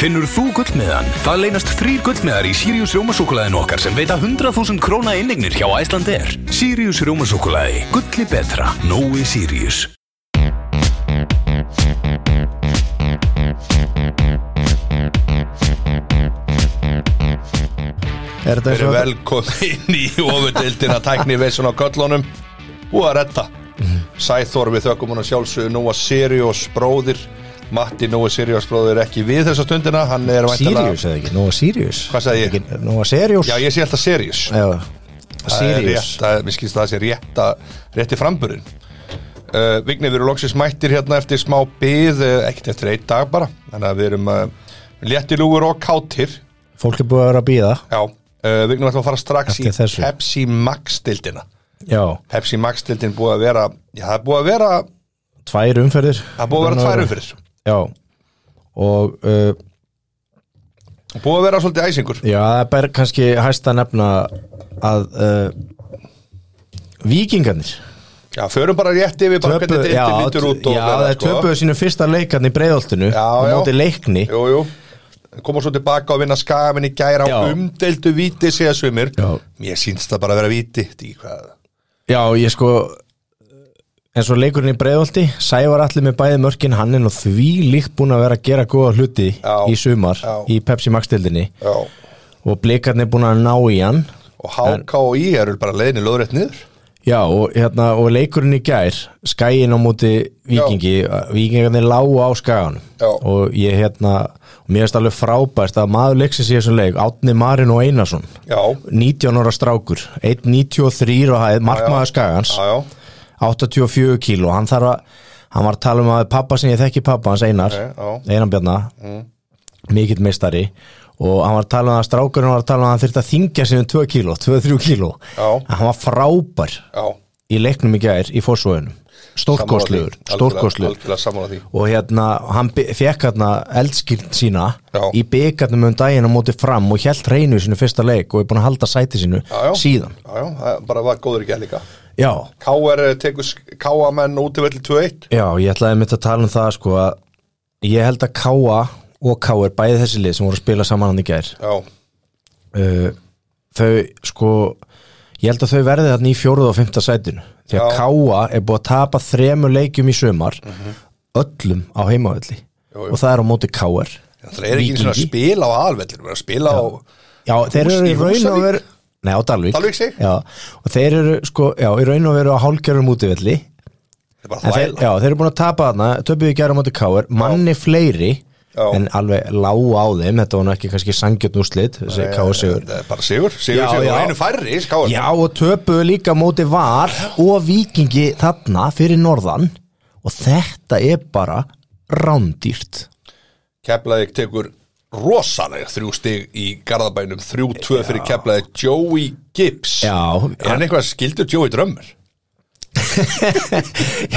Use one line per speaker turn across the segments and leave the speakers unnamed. Finnur þú gullmiðan? Það leynast þrýr gullmiðar í Sirius Rjómasúkulæðin okkar sem veita 100.000 króna innignir hjá Æslandir. Sirius Rjómasúkulæði. Gulli betra. Nói Sirius.
Er þetta
Við
eins
erum
og
velkomin í ofundeildina tækni veisun á köllunum og að redda Sæþór við þökkum hún að sjálfsögðu Nóa Sirius bróðir Matti Nóa Sirius bróðir er ekki við þessa stundina hann er væntanlega
Sirius eða ekki? Nóa Sirius?
Hvað sagði ég?
Ekki- Nóa Sirius?
Já ég sé alltaf Sirius
Já,
Það er
Eh, Sirius
rétt, að, mér skilst það að það sé rétta, rétti framburinn uh, Vignir, við erum loksins mættir hérna eftir smá byð, uh, ekkert eftir einn dag bara þannig að við erum uh, léttilúgur og kátir
Fólk er búið að vera að býða
Já, uh, Vignir ætlum að fara strax
Eftir
í
þessu.
Pepsi Max-dildina
Já,
Pepsi Max-dildin búið að vera já, það er búið að vera,
tvær umferðir
það er búið að vera tværu fyrir
Já Og uh,
búið að vera svolítið æsingur
já, það er bara kannski hæst að nefna að uh, Víkingarnir
Já, förum bara rétt yfir bara hvernig
já,
deildin lítur út og
já,
fleira, sko.
það er töpuðu sínu fyrsta leikarni í breiðoltinu
Já,
á
já.
móti leikni
Jú, jú koma svo tilbaka og vinna skafin í gæra á
Já.
umdeldu víti segja sumir
Já.
mér sínst það bara að vera víti þetta ekki hvað
Já, ég sko eins og leikurinn í breiðolti Sævar allir með bæði mörkin hann er nú því líkt búin að vera að gera góða hluti
Já,
í sumar
já.
í Pepsi Max-dildinni
já.
og blikarnir búin að ná í hann
og HK og I eru bara leiðinni löðrætt niður
Já, og, hérna, og leikurinn í gær skæin á móti vikingi vikingarnir lágu á skagan
Já.
og ég hérna og mér finnst alveg frábært að maður leiksins í þessum leik Átni Marin og Einarsson
já,
19 ára strákur 1.93 og hæð markmaður skagans
já, já,
84 kíló hann þarf að hann var að tala um að pappa sem ég þekki pappa hans Einar
Ok, Mm. já.
Einar Bjarna mikill meistari og hann var að tala um að strákurinn var að tala um að hann þyrfti að þingja sig um 2 kíló 2-3 kíló
Já.
hann var frábær
já
í leiknum í gær í fórsvöðunum
Sammála því.
stórkostlugur
Algjörlega-
stórkostlugur
algjörlega sammála því
og hérna hann fekk hérna eldskiln sína
Já.
í byggarnum um daginn á móti fram og hjælt reynu í sinu fyrsta leik og er búin að halda sæti sínu
já, já.
síðan
já, já, það er bara var góður í gæð líka
já,
KR tekur KA menn út í velli 2-1
já, ég ætlaði mitt að tala um það sko að ég held að Káa og Káa er bæði þessi lið sem voru að spila saman hann í gær
já,
uh, þau sko ég held að þau verði þarna í fjóruð og fymta sætinu því að
Já. Mhm.
Káa er búið að tapa þremur leikjum í sömar öllum á heimavelli
Jú, jú.
og það er á móti Káar
það er ekki eins og að
Víkingi.
spila á alvellinu við erum að spila á
já, þeir
Hús-
eru
í
í raun og
Húsavík?
veru nei, á Dalvík,
Dalvík sig?
já, og þeir eru sko, já, í raun og veru á hálfgerðum útivelli
þetta er bara
en þeir,
þvæla
já, þeir eru búin að tapa þarna töpuðu í gæra móti Káar, manni fleiri
Já.
en alveg lág á þeim þetta var nú ekki kannski sangjötn úrslit þessi Káar sigur
Það er bara sigur, sigur,
Já,
sigur,
já.
og einu færri skáður
Já og töpuðu líka móti var og vikingi þarna fyrir norðan og þetta er bara rándýrt
Keflaðið tekur rosalega þrjú stig í Garðabænum, þrjú tvö fyrir Keflaðið Joey Gibbs
Já,
Er hann eitthvað skildur Joey Drömmur?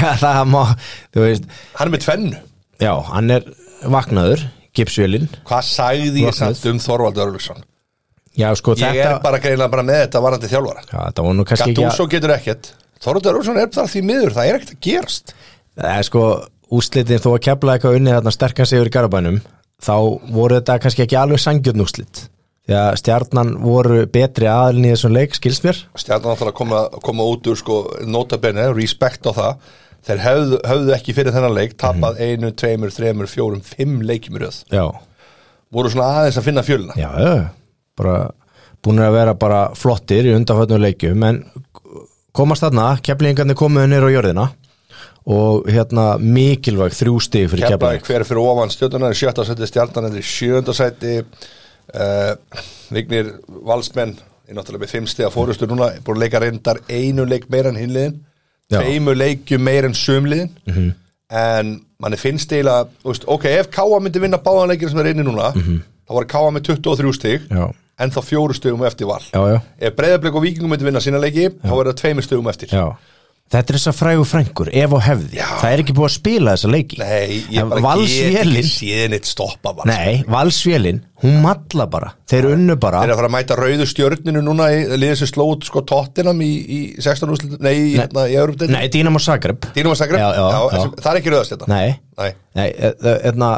já það má, þú veist,
Hann er með tvennu
já hann er vaknaður, gipsvélinn,
Hvað sagði ég
Vaknað.
samt um Þorvald Örlugsson?
já sko
Ég
þetta,
er bara greinlega bara með þetta varandi þjálfara
já þetta var nú kannski ekki að,
Gattuso getur ekkert Þorvald Örlugsson er þar því miður, það er ekkert að gerast
það er sko úslitin þó að kepla eitthvað unnið þarna sterkan sigur í garabænum, þá voru þetta kannski ekki alveg sangjötn úslit, því að stjarnan voru betri aðlinn í þessum leik, skilst mér?
Stjarnan náttúrulega koma, koma út úr sko, notabene, respect á það Þeir höfðu, höfðu ekki fyrir þennan leik tapað einu, tveimur, þreimur, fjórum, fimm leikjum í röð
Já.
voru svona aðeins að finna fjöluna
Já, já, bara búinir að vera bara flottir í undanfötnu leikjum en komast þarna, keflingarnir komuðu nýr á jörðina og hérna mikilvæg þrjú stig fyrir
Keflavík
keflavík
hver fyrir ofan stjórnuna er sjötta sæti, stjarnan er í sjönda sæti uh, Vignir Valsmenn er náttúrulega með fimm stiga fórustu núna, búin að leika reyndar einu leik meira en hinliðin
Já. Mhm.
tveimur leikjum meira en sumliðin en manni finnst eiginlega þú veist, ok, ef Káa myndi vinna báðanleikir sem er inni núna, þá var Káa með 23 stig
Mhm. Já.
en þá fjóru stigum eftir val
Já, já,
ef Breiðablik og Víkingum myndi vinna sína leiki þá er það tveimur stigum eftir
já Þetta er þess að frægu frængur, ef og hefði
Já.
Það er ekki búið að spila þessa leiki
Nei, ég
En
bara get ekki
Valsvélin,
séð neitt stoppa Valsmenn.
nei, Valsvélin Hún matla bara, þeir unnu bara
Þeir eru að fara að mæta rauðu stjörninu núna í liðið sem sló út sko tottinam í, í 16 úrslit, nei, nei. Hérna, í Európdeinu
Nei, Dínamo Zagreb
Dínum að sagra,
Já, já, já.
það er ekki rauðast þetta
Nei,
nei.
Nei, e- e- hérna,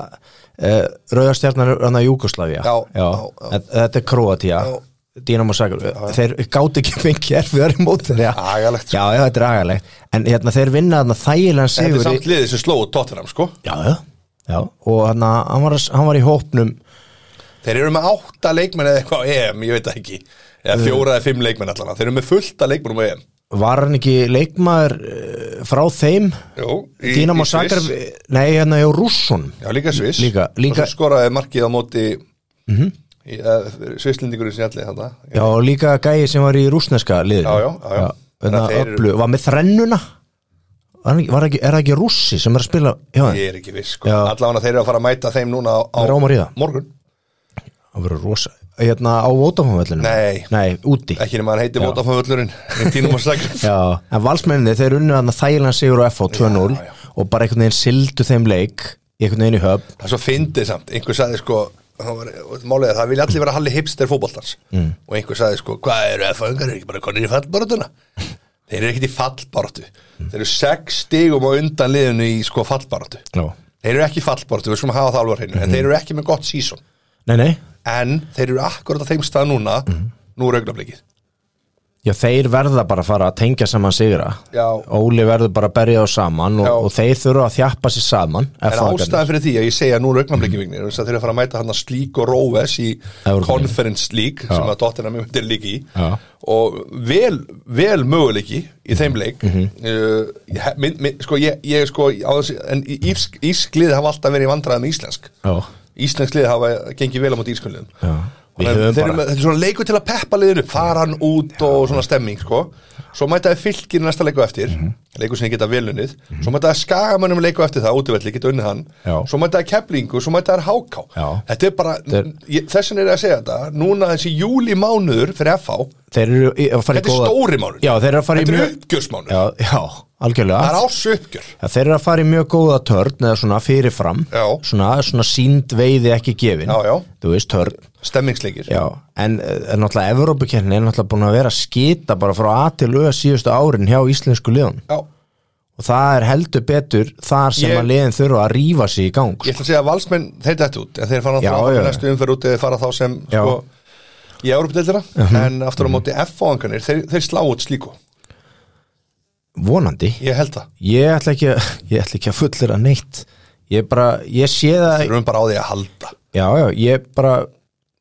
uh, Rauðastjarnar hann að Júkoslavia
Já,
hérna já.
já, já.
Þetta- Þetta er Kroatia
Já.
Dínamo Sakur, þeir gáti ekki fengið erfiðar í mótin já.
Agalegt, sko.
já, já, þetta er agalegt en hérna, þeir vinna þarna þægilegan
Þetta
sigur
er
í-
samt liðið sem slóðu Tottenham sko
já, já, já, og hérna, hann, var, hann var í hópnum
Þeir eru með átta leikmenn eða eitthvað á EM, ég veit það ekki eða fjóra eða fimm leikmenn allan Þeir eru með fullta leikmennum á EM
var hann ekki leikmaður eh, frá þeim
Jú, í-
Dínamo
í Sviss.
Sakur, nei, hérna, hjá Rússon
Já, líka Sviss
Líka- líka- Mhm.
Og svo skoraði markið á móti mm -hmm. Svisslendingur í sjalli þetta
já, og líka gæi sem var í rúsneska liðinu
Já, já, já, já.
hérna,
Þannig að þeir eru-
öflu, var með þrennuna var hann ekki, var ekki, er það ekki rússi sem er að spila hjá þeim?
Ég er ekki viss sko
Já.
Allavega þeir eru að fara að mæta þeim núna á, á
Með Róm og Ríða.
morgun
Það verður rosa Hérna á Vótafónvöllinu
Nei.
Nei, úti
Ekki nema hann heiti Votafamöllurinn Dínum og Sakrif
Já, en valsmenninni þeir unnu hann að þægilegan sigur á FH 2-0
Já, já.
og bara einhvern veginn sildu þeim leik einhvern veginn í höf
Það er svo fyndið samt, einhver sagði sko það var- Málið er það vilja allir vera halli hipster fótboltans Og einhver sagði sko Hvað eru F-öngar, er ekki bara konir í fallbarátuna Þeir eru ekkit í fallbarátu Þeir eru sex stigum á undan liðinu í sko fallbarátu
Já
Þeir eru ekki í fallbarátu, við skulum hafa það alvar hreinu En þeir eru ekki með gott sísón
Nei, nei,
En þeir eru akkurat á þeim stað núna Nú er augnablikið
já þeir verða bara að fara að tengja saman sigra
Já.
Óli verður bara að berja á saman og,
Já.
og þeir þurfa að þjappa sér saman
En
FH -garnir.
ástæðan fyrir því að ég segja nú er augnablikið vignir Þeir eru að fara að mæta hann að slík og róves Í
Evrópu.
Conference League Sem
Já.
að dottina mjög myndir líki í
Já. Mhm.
Og vel, vel möguleiki Í þeim leik uh, ég, mynd, mynd, Sko ég, ég sko á þessi, En í- írsk, írsk liði hafa alltaf verið í vandræðum með íslensk
Já,
Íslensk liði hafa gengið vel á móti írskunliðum
já Við
Þannig að
höfum
þeir eru
bara
með- Þetta er svona leikur til að peppa liðinu Fara hann út og svona stemming sko. Svo mæta þið fylgir næsta leiku eftir
Mhm.
Leikur sem þið geta velunnið Svo mæta þið skagamönnum leiku eftir það Útivelli, geta unnið hann
Já.
Svo mæta þið keplingu, svo mæta þið háká
Já.
Þetta er bara,
Þetta
ég- þessan er ég að segja þetta Núna þessi júlimánuður fyrir FH
Þeir eru í- að fara í
Þetta er
góða
stóri mánuður
Já, þeir eru að fara í
Þetta er
mjög
uppgjörsmánuður
Já, já, algjörlega
Það er ás uppgjör
Já, þeir eru að fara í mjög góða törn eða svona fyrirfram
Já.
svona, svona sínd veiði ekki gefin
Já, já.
þú veist törn
Stemmingsleikir
já. en eh, er náttúrulega Evrópukennin er náttúrulega búin að vera að skita bara frá A til Ö síðustu árin hjá íslensku liðun
Já.
og það er heldur betur þar sem
Ég-
að liðin þurfa að rífa sig í gang
Ég ætla að segja að valsmenn þeir dætt út En þeir fara
Já,
náttúrulega
já.
næstu umferð út Eða fara þá sem
Já. Mhm.
sko, í Európa-deildina En aftur á móti F-fóðanganir þeir, þeir slá út slíku
vonandi
Ég held það
ég ætla ekki, að- ég ætla ekki að fullera neitt ég bara, ég sé það
Þeir eru bara á því að halda
já, já, ég bara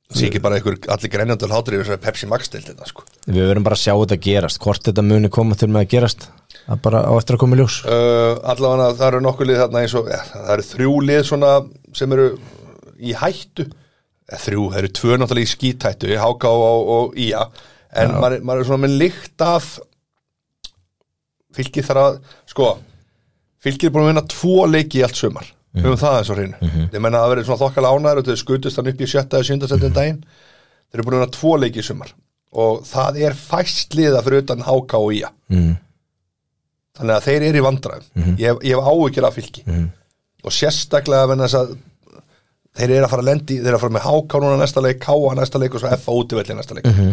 Það sé ekki bara einhver allir grænjöndur hlátur yfir þessari Pepsi Max deildina sko.
við verum bara að sjá þetta gerast hvort þetta muni koma til með að gerast það bara á eftir að koma í ljós
uh, Allavega það eru nokkur lið þarna eins og ja, Það eru þrjú lið svona sem eru í hættu eh, Þrjú, það eru tvö náttúrulega í skítættu Í Háká og, og Ía En maður, maður er svona með lykt af Fylkið þar að Sko, fylkið er búin að vinna tvo leiki í allt sumar Við höfum það eins og hreinu Ég menna að það verið svona þokkala ánæður Þau skutust hann upp í sjötta eða sjönda setjum daginn Þeir eru búin að vinna tvo leiki í sumar Og það er fæst liða fyrir utan Háká og Ía
mm.
þannig að þeir eru í vandræðum
Mhm.
ég, ég hef áhyggjur af fylki
mm.
og sérstaklega vegna þess að þeir eru að fara að lendi, þeir eru að fara með háká núna næsta leik, káa næsta leik og svo FA útivelli næsta leik
Mhm.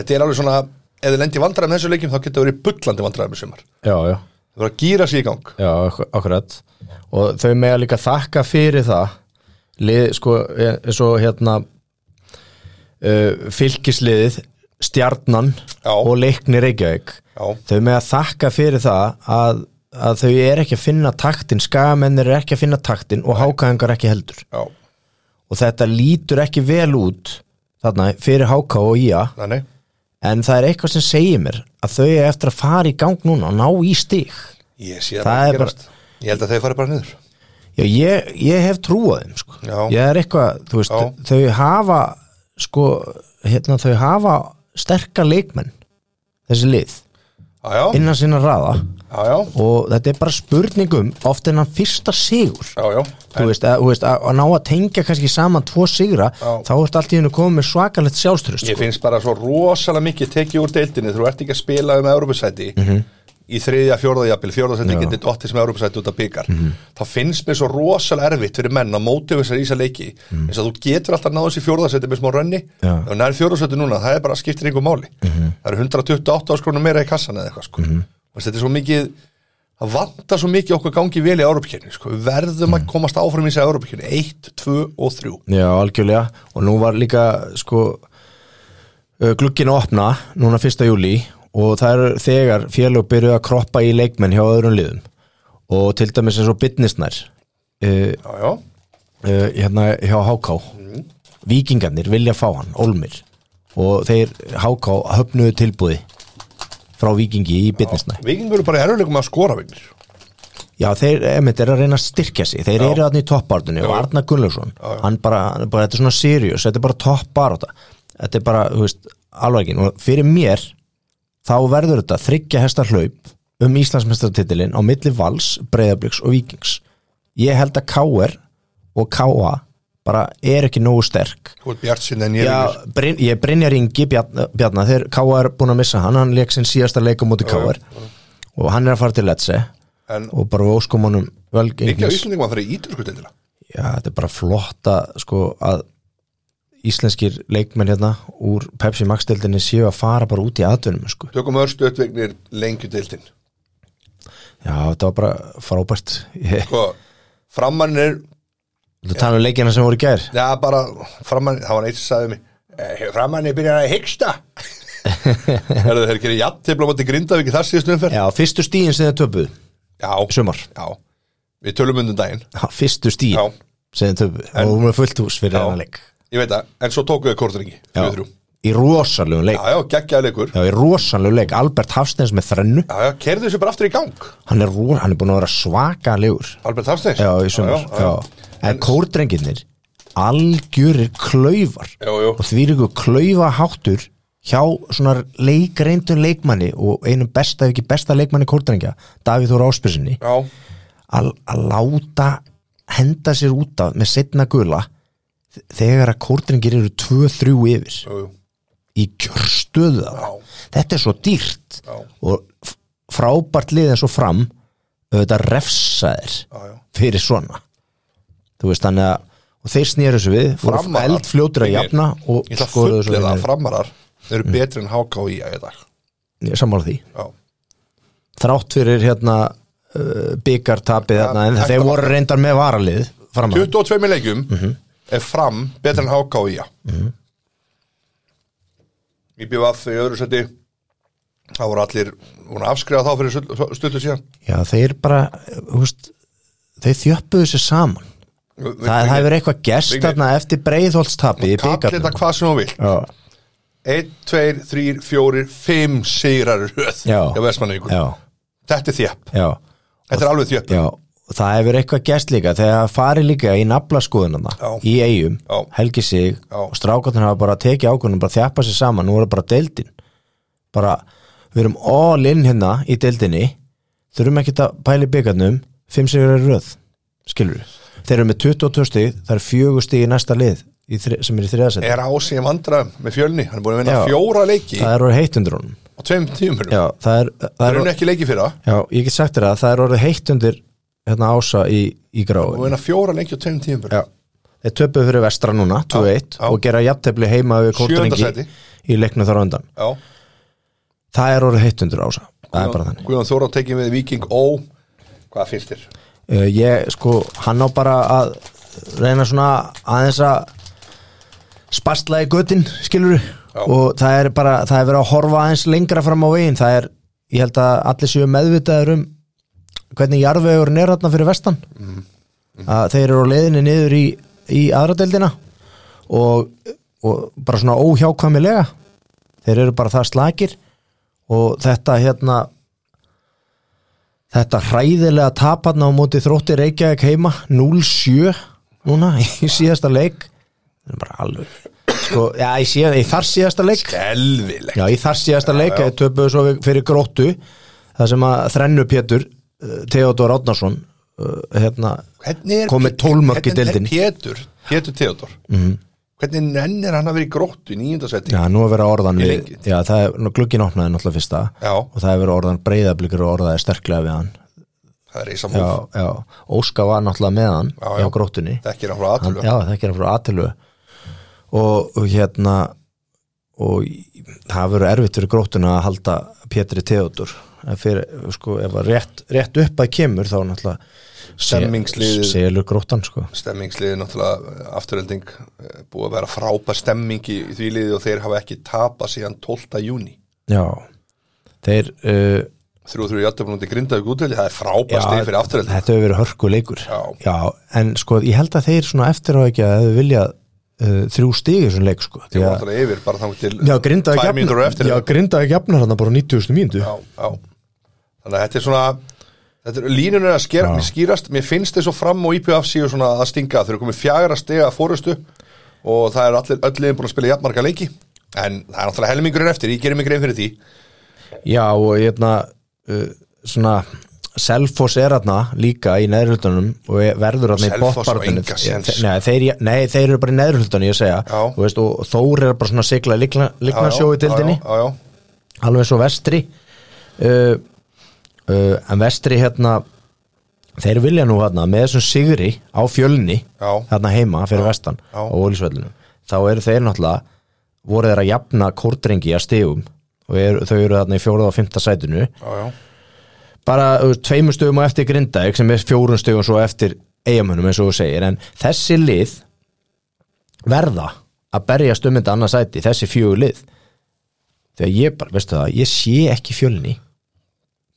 þetta er alveg svona ef þið lendi í vandræðum þessu leikum þá getur það verið bullandi vandræðum í sumar,
já, já
það voru að gýra sig í gang
Já, akkur- akkurat og þau mega líka þakka fyrir það lið, sko, eins og hérna uh, fylkisliðið stjarnan
Já.
og leikni Reykjavík
Já.
þau mega þakka fyrir það að, að þau er ekki að finna taktin skagamennir er ekki að finna taktin og hákaðingar ekki heldur
já,
og þetta lítur ekki vel út þarna fyrir háka og ía
þannig
en það er eitthvað sem segir mér að þau er eftir að fara í gang núna og ná í stig
ég sé
Það
að það
er bara-
gerast ég held að þeir fari bara niður
Já, ég, ég hef trú á þeim sko.
Já.
ég er eitthvað, þú veist,
Já.
þau hafa sko, hérna, þau hafa sterka leikmenn þessi lið,
já, já,
innan sinna raða
já, já,
og þetta er bara spurningum oft en hann fyrsta sigur
já, já.
þú veist, að, þú veist að, að ná að tengja kannski saman tvo sigra,
Já.
þá ertu allt í hennu komið með svakalegt sjálfströst
Ég
sko.
finnst bara svo rosalega mikið tekið úr deildinni þú ert ekki að spila um Európusæti í þriðja, fjórða jafnvel, fjórða sæti
Já.
getið dottið sem Európusæti út af byggar þá finnst mér svo rosalega erfitt fyrir menn að móti þessar ísa leiki eins og þú getur alltaf náðu þessi fjórða sæti með smá rönni
Já.
og nær fjórða sæti núna, það er bara skiptir einhver máli það eru 128 áskrunum meira í kassan eða eitthvað sko. mm þetta er svo mikið það vantar svo mikið okkur gangi vel í Európakefni sko. við verðum að komast áfram í þessi Európakefni 1, 2 og 3
Já, algjörlega og nú var líka sko uh, glugginn að opna núna 1. júli og það eru þegar félög byrjuð að kroppa í leikmenn hjá öðrum liðum og til dæmis eins og bitnisnær uh,
já, já,
uh, hérna hjá HK Víkingarnir vilja fá hann, Olmir og þeir HK höfnuðu tilbúði frá Víkingi í bitnisnær
vikingur eru bara í erfiðleikum með að skora vikingur
Já, þeir emitt, er að reyna að styrkja sig Þeir eru þarna í toppbartunni og
Já.
Arna Gunnlaugsson
Já, já.
hann bara, hann bara, þetta er svona serious Þetta er bara toppbaráta Þetta er bara, þú veist, alveg ekki og Fyrir mér, þá verður þetta þryggja hesta hlaup um Íslandsmestartitilin á milli Vals, Breiðabliks og Víkings Ég held að KR og KA bara er ekki nógu sterk
Þú ert bjart sinni en ég
Já,
er
Bryn, ég Brynja Ringi Bjarna, Bjarna þeir K.A. er búin að missa hann hann leik sinn síðasta leik á móti K.A. og hann er að fara til Letse
En-
og bara við óskum honum vel
líka
gengis.
Íslandingum að það er ítur sko deildina
Já, þetta er bara flotta sko að íslenskir leikmenn hérna úr Pepsi Max-deildinni séu að fara bara út í aðvunum sko.
tökum örstu öttvegnir lengju deildin
Já, þetta var bara frábært ég,
sko, framann er
Þú tala um leikina sem voru í gær
Já, bara framann, það var neitt sem sagði mig eh, framann er byrjað að hyggsta Herðu, þeir gerir jafn til blómandi grindavík í þar síðustu umferð
Já, fyrstu stíin sem þið töpuð
Já,
sumar,
já, við tölum undan daginn
Ha, fyrstu stíin
Já.
sem þið töpuð og hún er fullt hús fyrir
Já.
hann leik
Ég veit það, en svo tóku við kortringi
Já,
Já, já,
í rosalegum leik
já geggjaði leikur Já,
Já, í rosanlegu leik, Albert Hafsteins með þrennu
já, kerðu þessu bara aftur í gang
hann er, ro- hann er búin að vera svakalegur
Albert Hafsteins
Já, í sumar
já, já.
já. En kórdrenginir algjörir klaufar
Jú, jú.
og því er ykkur klaufa háttur hjá svona leikreindun leikmanni og einum besta, ef ekki besta leikmanni kórdrengja, Davíð Þór Áspyrsinni
já,
að að láta henda sér út af með setna gula þ- þegar að kórdrengir eru 2-3 yfir
jú, jú.
í kjörstöðu þarna. þetta er svo dýrt
Já.
og f- frábært lið eins og fram auðvitað refsaðir
Já, já.
fyrir svona þú veist þannig að og þeir snýru þessu við, fóru
Framarar,
eldfljótur að
Vignir,
jafna og
Ég ætla að
skoruðu Mhm. þessu
fullið að
vinnur.
framarar eru betri en háká í að dag
Ég er sammála því
Já,
þrátt fyrir hérna uh, byggartapið þarna en
þetta
þeir
var-
voru reyndar með varalið framar
22 með leikjum
Mhm.
er fram betur en HK í mm -hmm. IBVF í öðru seti það voru allir voru afskrifað þá fyrir stutt- stuttu síðan
já þeir bara, þú veist þeir þjöppuðu sér saman það, það hefur eitthvað gerst
Vignir.
þarna eftir breiðholtstapið í
Kall þetta
byggarnum
hvað sem þú vilt
Já.
1, 2, 3, 4, 5 sigrar í röð
Já.
hjá Vestmanningur
já,
Þetta er þjöpp,
já
þetta er alveg þjöpp
Já, og það hefur eitthvað gæst líka þegar það fari líka í naflaskoðunana
Já.
í eigum,
Já.
helgi sig og strákarnir hafa bara tekið ákvörðunum bara þjappa sér saman, nú er það bara deildin bara, við erum all in hérna í deildinni þurfum ekki að pæla í byggarnum fimm sigur er röð, skilur við þeir eru með 22 stig, það er fjögur stig í næsta lið í þri, sem er í þriðasend
Er ásið í vandræðum með fjölni hann er búin að vinna
Já.
fjóra leiki
það er orðið heitt undir honum
á tveim tímur
Já, það er, það
Það
er,
er ekki leiki fyrir það
já, ég get sagt þér að það er orðið heitt undir hérna ása í, í gráu
og vinna fjóra leiki á tveim tímur
Já. Þeir töpuðu fyrir vestra núna, 2-1
já.
og gera jafntefli heima við
Sjöunda sæti.
kórdrengi í leiknum þar á undan.
Já.
Það er orðið heitt undir ása, það er bara þannig.
Guðjón Þóra tekið við Viking Ó Hvað finnst þér?
Uh, ég, sko, hann á bara að reyna svona aðeins að spastla í götin, skilur og það er bara, það er verið að horfa aðeins lengra fram á veginn, það er ég held að allir séu meðvitaður um hvernig jarðvegur er þarna fyrir vestan að þeir eru á leiðinni niður í, í aðradeldina og, og bara svona óhjákvæmilega þeir eru bara það slakir og þetta hérna þetta hræðilega taparna á móti þrótti Reykjavík heima 0-7 núna í síðasta leik það er bara alveg sko, já, í, síða, í þar síðasta leik
Elvileg
já, í þar síðasta leik þeir töpuðu svo við- fyrir gróttu það sem að þrennu Pétur eh, Theodor Átnarsson eh, hérna,
Hvernig er
Kom með 12 mörk í
hvernig er
deildinni. Mhm.
Pétur, Pétur Theodor -hmm. Hvernig nennir hann að vera í gróttu í nýjöndasetti
já, nú er verið að orðan
Í
við,
leik.
já, það er, nú, glugginn opnaði náttúrulega fyrsta
Já.
og það er verið orðan breyðablikur og orðaði sterklega við hann
Það er
já,
eisamóð
já, Óska var náttúrulega með hann
Já, já.
hjá gróttunni
Þekkir hann frá
hann,
aðtölu
já, þekkir hann frá Atilu og, og hérna og í- það verður erfitt fyrir gróttuna að halda Pétri Theodor En fyrir, sko, ef að rétt, rétt upp að kemur þá náttúrulega
Stemmingsliðið.
se- selur gróttan sko.
stemmingsliðið náttúrulega afturölding eh, búið að vera frápa stemming í, í því liðið og þeir hafa ekki tapað síðan 12. júni
já þeir uh,
3-3 játtöfnum til grindaðu gútöli það er frápa stið fyrir afturölding
þetta hefur verið hörku leikur
Já.
en sko ég held að þeir svona eftir á ekki að hefur viljað uh, þrjú stig í þessum leik sko.
þeir
Því
voru
að-
alltaf yfir bara þangt til
já, grindaði
tvær mínútur á eftir
jafnar já, grindaði jafnar hann bara á 90. mínútu
já, já. þannig að þetta er svona þetta er línunum að skera,
Já.
skýrast mér finnst þess og fram og IPF síður svona að stinga þeir eru komið fjagra stega fórustu og það er allir öll liðin búin að spila jafnmarga leiki en það er náttúrulega helmingurinn eftir ég gerir mig grein fyrir því
Já og hérna uh, svona Selfoss er hérna líka í neðrhultunum og er- verður hérna í
Selfoss á
bóttbartunum
enga séns.
nei, þeir- nei, þeir eru bara í neðrhultunum ég að segja
Já.
Þú veist, og Þór er bara svona að sigla
Já, já,
lignarsjói dildinni
já, já, já.
alveg svo vestri uh, uh, en vestri hérna þeir vilja nú hérna með þessum sigri á fjölni
Já.
hérna heima fyrir vestan
já.
á Ólisvellinu þá eru þeir náttúrulega voru þeir að jafna kórdrengi að stigum og er, þau eru þarna í fjórða og fymta sætinu
já, já.
bara þú veist, tveimur stöðum á eftir Grindavík sem er fjórun stöðum svo eftir eigamönnum eins og þú segir en þessi lið verða að berja stöðmynda annað sæti þessi fjögur lið þegar ég bara, veistu það, ég sé ekki fjölni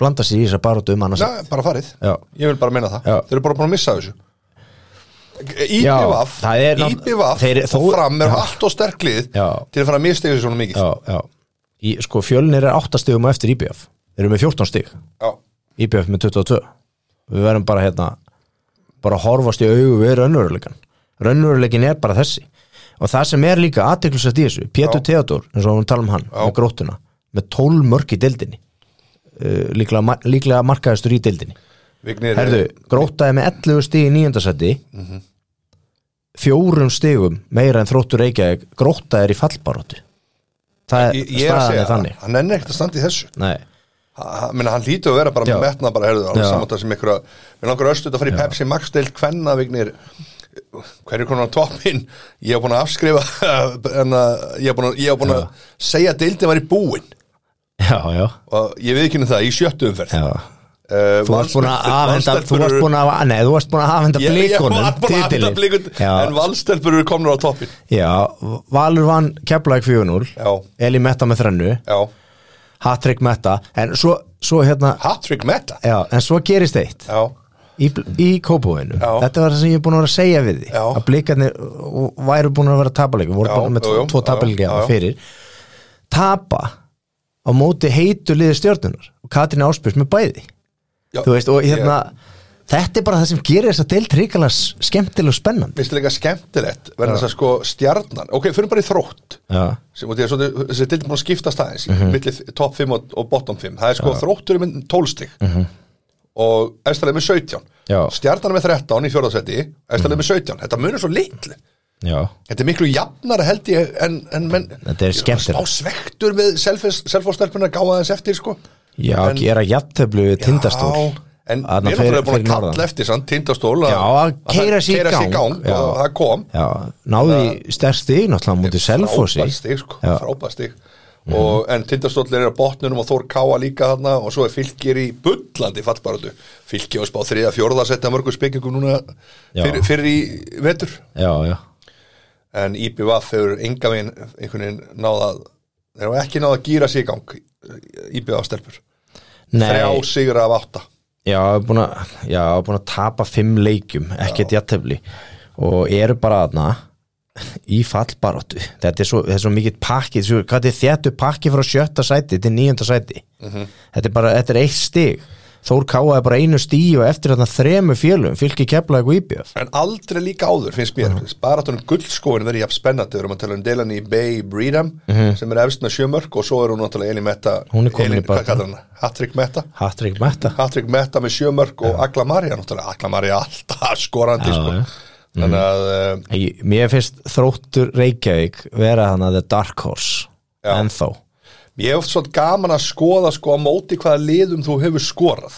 blanda sér í þess að bara um annað sæti
Nei, bara farið,
Já.
ég vil bara meina það
Já.
Þeir eru bara búin að missa þessu
Já,
Íbivaf,
það er nátt-
Íbivaf
þeir-
og
þó-
fram er
Já.
allt og sterklið
Já.
til að fara að mista þessu svona mikið
já, já. Í, sko fjölnir er 8 stöðum á eftir IBF þeir eru með 14 stig,
Já.
IBF með 22 við verðum bara hérna bara að horfast í augu við raunveruleikan raunveruleikin er bara þessi og það sem er líka aðteklisast í þessu Pétur Theodor, eins og hún tala um hann með gróttuna, með 12 mörk í deildinni uh, líklega, ma- líklega markaðistur í deildinni
Vignir,
Herðu, grótaði með 11 stig í nýjöndasætti mm
Mhm.
fjórum stigum meira en þróttur Reykjavík grótaði er í fallbaróttu það er,
ég, ég er að
staðan
segja,
er þannig
hann ennir ekkert að standa í þessu
Nei,
hann, minna, hann lítur að vera bara
Já.
með metna bara, herðu, alveg
Já.
saman það sem ykkur að við langar östuð að fara í Pepsi Max deil hvenna vignir hverju konar á toppin ég hef búin að afskrifa en, að- ég hef búin að, ég hef búin að segja að deildin var í búin
já, já,
og ég veit ekki um það í sjöttu umferð
já.
Uh,
Þú varst búin að afhenda
Valsmenn-
Þú varst búin að, nei, þú varst búin að afhenda
Ég- ég
blikunum
var bara að afta
titilinn.
blikun en
já,
valstelpur eru komnur á toppin
já, Valur vann Keflæk 4-0
já,
Eli Metta með þrennu
já,
Hattrick Metta En svo, svo hérna
hat-trick meta
Já, en svo gerist eitt
já,
í, í kópóinu
Já.
þetta var það sem ég er búin að vera að segja við því
Já.
að blikarnir uh, væru búin að vera tapaleikum voru
Já,
bara með
jú,
tvo,
jú,
tvo
já, já,
tapaleikum
já.
fyrir tapa á móti heitu liði stjórnunar og Katrín Áspjörs með bæði
já.
þú veist og hérna
Ég-
þetta er bara það sem gerir þess að deilt ríkala skemmtileg og spennandi
Mér finnst líka skemmtilegt verðan þess að sko stjarnan ok, fyrir bara í þrótt
já,
sem út í þessu þessi dildin búin að skipta staðins
Mhm.
mm milli top 5 og, og bottom 5 það er sko þróttur með 12 stig og efstalega með 17
Mhm. Já. Mhm.
stjarnan með 13 í fjórðasetti efstalega með 17, þetta munur svo litlu
já,
Þetta er miklu jafnara held ég en, en menn,
Þetta er
Ég
skemmtilegt.
Smá svektur með selfóstelpuna gáða þess eftir sko
já
En-
gera jafnteflu við tindastól
Já, En
Þarna
við erum fyrir, búin
fyrir
að
norðan.
kalla eftir sann, tindastól að-
Já, að
það
keyra sig í
keyra sig
gang,
í gang
já.
og það kom
já, náði í sterk stig náttúrulega á móti selfósi
Frábært stig, sko,
Já. Mhm.
frábært stig og, En tindastóll er á botnunum og Þór Káa líka þarna og svo er fylgir í bullandi fallbaratu Fylgir á spá þriða, fjórða setja mörgum spekingum núna
Já.
fyrir, fyrir í vetur
já, já,
en IBVF hefur enga veginn einhvern veginn náða þeir hafa ekki náða að gýra sig í gang IBVF stelpur þrjá
nei
sigra af átta
Já, er búin að, já, er búin að tapa fimm leikjum, ekkert jættefli og eru bara aðna í fallbaróttu þetta er svo, þetta er svo mikið pakki svo, hvað þetta er þéttu pakki frá sjötta sæti til níunda sæti þetta er bara, þetta er eitt stig Þór Káa er bara einu stíu og eftir þarna þremu fjölum fylgir keflaði og íbjöf
en aldrei líka áður finnst mér
Mhm.
baratunum guldskóin verið jafn spennandi við erum að tala um Delaney Bay Breedham sem er efst með sjömörk og svo er hún náttúrulega Elin Metta
Mhm. Hún er komin í baráttu.
hvað kallar hann? Hattrick Metta
Hattrick Metta
Hattrick Metta með sjömörk og Agla Maria náttúrulega Agla Maria alltaf skorandi
Já,
sko.
já.
þannig að eh,
Ég, Mér finnst þróttur Reykjavík vera hann að The Dark Horse
Já.
ennþá
ég hef oft svolítið gaman að skoða sko á móti hvaða liðum þú hefur skorað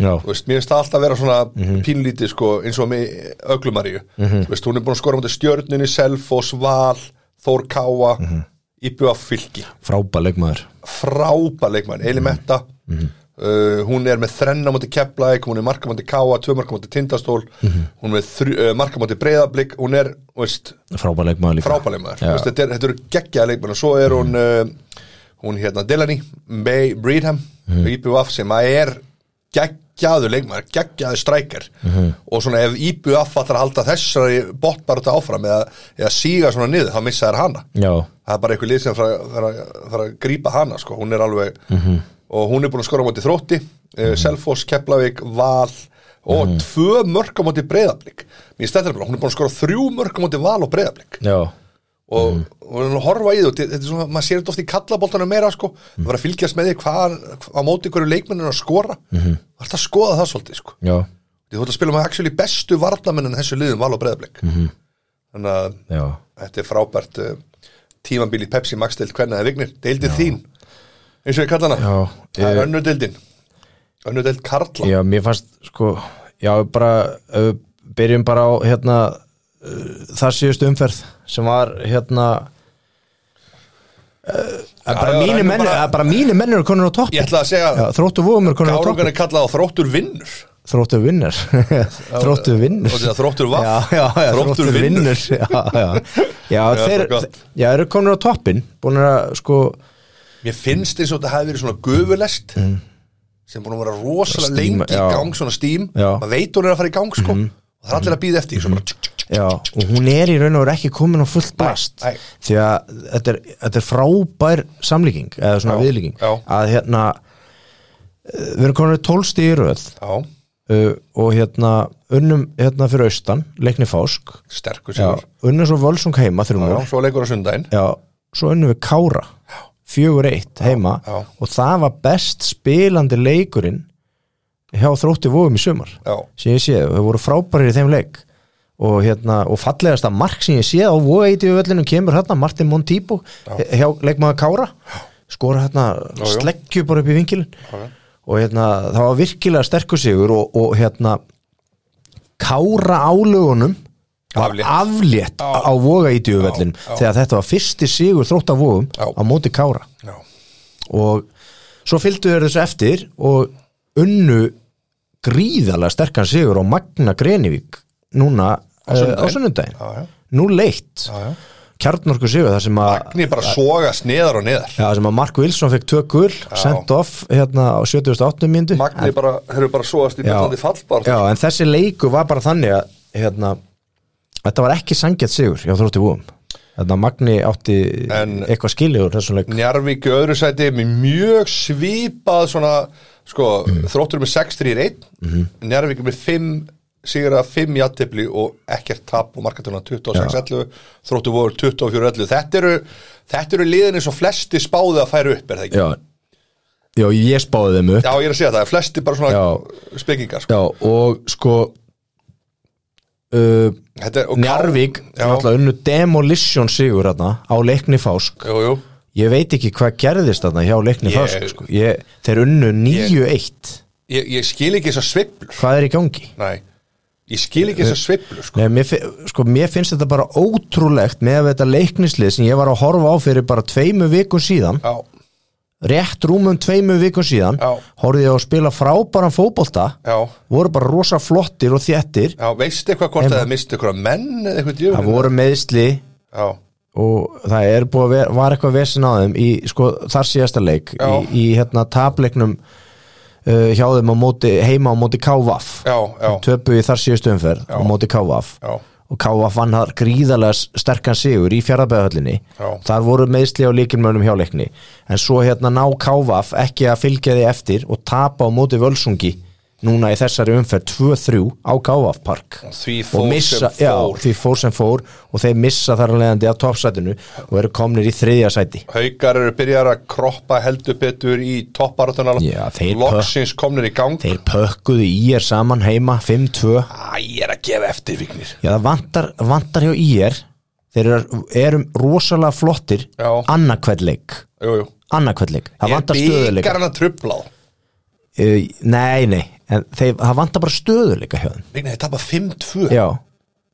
Já,
þú veist, mér finnst það alltaf að vera svona
Mhm.
pínlítið sko, eins og með Öglumaríu þú veist, hún er búin að skora mútið stjörnunni Selfoss, Val, Þór Káa
Mhm.
mm -hmm. Íbjöf Fylki,
frábæ leikmaður
frábæ leikmann Elimetta, Uh, hún er með þrenna múti Keflæk, hún er marka múti Káa, tvö marka múti Tindastól, hún er með þrjú, uh, marka múti Breiðablík, hún er, þú veist,
frábæleik maður líka
frábælega maður
Já.
Þú veist, þetta, er, þetta eru geggjaða leikmenn og svo er hún uh, hún hérna Delaney May Breedham mm. IBUF sem að er geggjaðu leikmenn geggjaðu strækir og svona ef IBUF ætlar að halda þessari botbarta áfram eða, eða síga svona niður þá missa þær hana
Já,
það er bara eitthvað lið sem fara, fara, fara að grípa hana sko, hún er alveg og hún er búin að skora á móti þrótti mm Selfoss, Keflavík, Val og tvö mörg á móti breyðablík mér stættir bara, hún er búin að skora þrjú mörg á móti Val og breyðablík
já,
og, mm. og hún horfa í þú, þetta er svona maður sér þetta oft í kallaboltanum meira sko það var að fylgjast með því hvað á móti hverju leikmenninu að skora, mm -hmm. var að skoða það svolítið sko,
já,
því þú ert að spila með actually bestu varnamennin þessu liðum Val og breyðablík þannig að
já
þetta er frábært uh, tímambili Pepsi Max deild hvernig það vignir, deildin þín eins og ég kalla hana,
Já,
það er
ég-
önnur deildin önnur deild Karla
Já, mér fannst sko Já, bara, ef við byrjum bara á hérna uh, þar síðustu umferð sem var hérna uh,
Já,
bara,
já,
mínu
rennum
menn,
bara-
bara, bara mínu menn eru konur á topp
ég ætla að segja,
Já, þróttu vóum er konur á topp
Gárangan er kallað á þróttur vinnur
Þróttu vinnur Þróttu vinnur
og þetta þróttur vaff
Já, já, já,
Þróttur
þróttur
vinnur.
vinnur Já, já, já
Já, það
þeir
er gott.
Já, eru konur á toppin Búin að sko
mér finnst eins og þetta hafi verið svona gufulest sem búin að vera rosalega
Steam,
lengi
Mm. já.
í gang svona stím,
Já. Mhm.
maður veit hún er að fara í gang sko, og það er allir að býða eftir því, svo bara tsk, tsk, tsk.
Já, og hún er í raun og veru ekki komin á fullt blast
nei.
því að þetta er, þetta er frábær samlíking eða svona
Já,
viðlíking
já.
að hérna eh, við erum komin tólst í röð
já,
uh, og hérna unnum hérna fyrir austan, leikni fásk
sterkur
já,
sigur
unnum svo völsung heima
Já,
þrjum
svo leikur á sundaginn
já, svo unnum við Kára fjögur eitt heima
já.
og það var best spilandi leikurinn hjá þrótti vóum í sumar
já,
sem ég séð, þau voru frábærir í þeim leik og, hérna, og fallegasta mark sem ég séð á vóeiti við völlinu kemur hérna Martin Montipo hjá leikmaður Kára skora
Já,
hérna
já.
sleggju bara upp í vingilin
já.
og hérna, það var virkilega sterkur sigur og, og hérna Kára álögunum var
Aflétt.
aflétt
Já.
á voga í djöfellin
Já, já.
þegar þetta var fyrsti sigur þrótt af vogum
Já.
á móti Kára
já,
og svo fylgdu þeir þessu eftir og unnu gríðalega sterkan sigur á Magna Grenivík núna eh,
sunnudaginn.
á sunnundaginn
já, já,
nú leitt,
já, já.
kjarnorku sigur þar sem að
Magni bara sogast neðar og neðar
Já, sem að Mark Wilson fekk tvö gul, sent off hérna á 78. myndu
Magni bara, þeir eru bara svoðast í byrjandi fallbar
Já, en þessi leiku var bara þannig að hérna, þetta var ekki sangjætt sigur hjá þrótti búum Þetta Magni átti
En-
eitthvað skilið úr þessum leik
Njarvík í öðru sæti með mjög svipað svona, sko,
Mhm.
þróttur með 6-3-1 Njarvík með 5 sigra 5 jattefli og ekkert tap og markatuna 26-11 þróttur voru 24-11 þetta eru, þetta eru liðinni svo flesti spáði að færa upp er það ekki?
Já, já ég spáði þeim upp
Já, ég er að segja það, flesti bara svona
Já.
spekingar sko.
Já, og sko uh,
Þetta er- og Ká-
Njarvík
Já.
náttúrulega unnu demolition sigur hérna á leikni fásk
Jú, jú,
ég veit ekki hvað gerðist þarna hjá leikni
Ég-
fásk sko. ég, þeir unnu 9-1
ég, ég skil ekki þessar sveiflur
hvað er í gangi?
Nei, ég skil ekki þessar sveiflur sko.
Nei, mér, fi- sko, mér finnst þetta bara ótrúlegt með að þetta leiknislið sem ég var að horfa á fyrir bara tveimu vikum síðan
Já,
rétt rúmum tveimu vikum síðan
Já.
horfði ég á að spila frábæran fótbolta
já
voru bara rosa flottir og þéttir
Já, veistu eitthvað hvort að það mistu eitthvað menn eða eitthvað djöfn?
það voru meðsli
Já,
og það er búið að vera, var eitthvað vesen á þeim í sko, þar síðasta leik
Já.
í, í hérna tapleiknum uh, hjá þeim á móti, heima á móti Kávaf
já, já,
töpu í þar síðustu umferð á móti Kávaf
já,
og Kávaf vann þar gríðarlega s- sterkan sigur í fjaraðbæðhöllinni
Já.
þar voru meðsli á líkilmönnum hjá leikni en svo hérna ná Kávaf ekki að fylgja því eftir og tapa á móti Völsungi núna í þessari umferð 2-3 á Kávaf Park
Og því
og
fór
missa,
sem
Já,
fór
því fór sem fór og þeir missa þar að leiðandi á toppsætinu og eru komnir í þriðja sæti
Haukar eru byrjar að kroppa heldur betur í topparatunar
Já, þeir
Loksins komnir í gang
þeir pökkuðu í er saman heima 5-2,
Æ, ég er að gefa eftir vignir
já það vantar, vantar hjá í er þeir eru, erum rosalega flottir
Já.
annarkvæðleik
Jú, jú
annarkvæðleik, það vantar
Er
stöðuleika
byggar hann að trubla á
uh, nei, nei, en þeir, það vantar bara stöðuleika hjá þeim,
Vignir, þeir tapa 5-2
já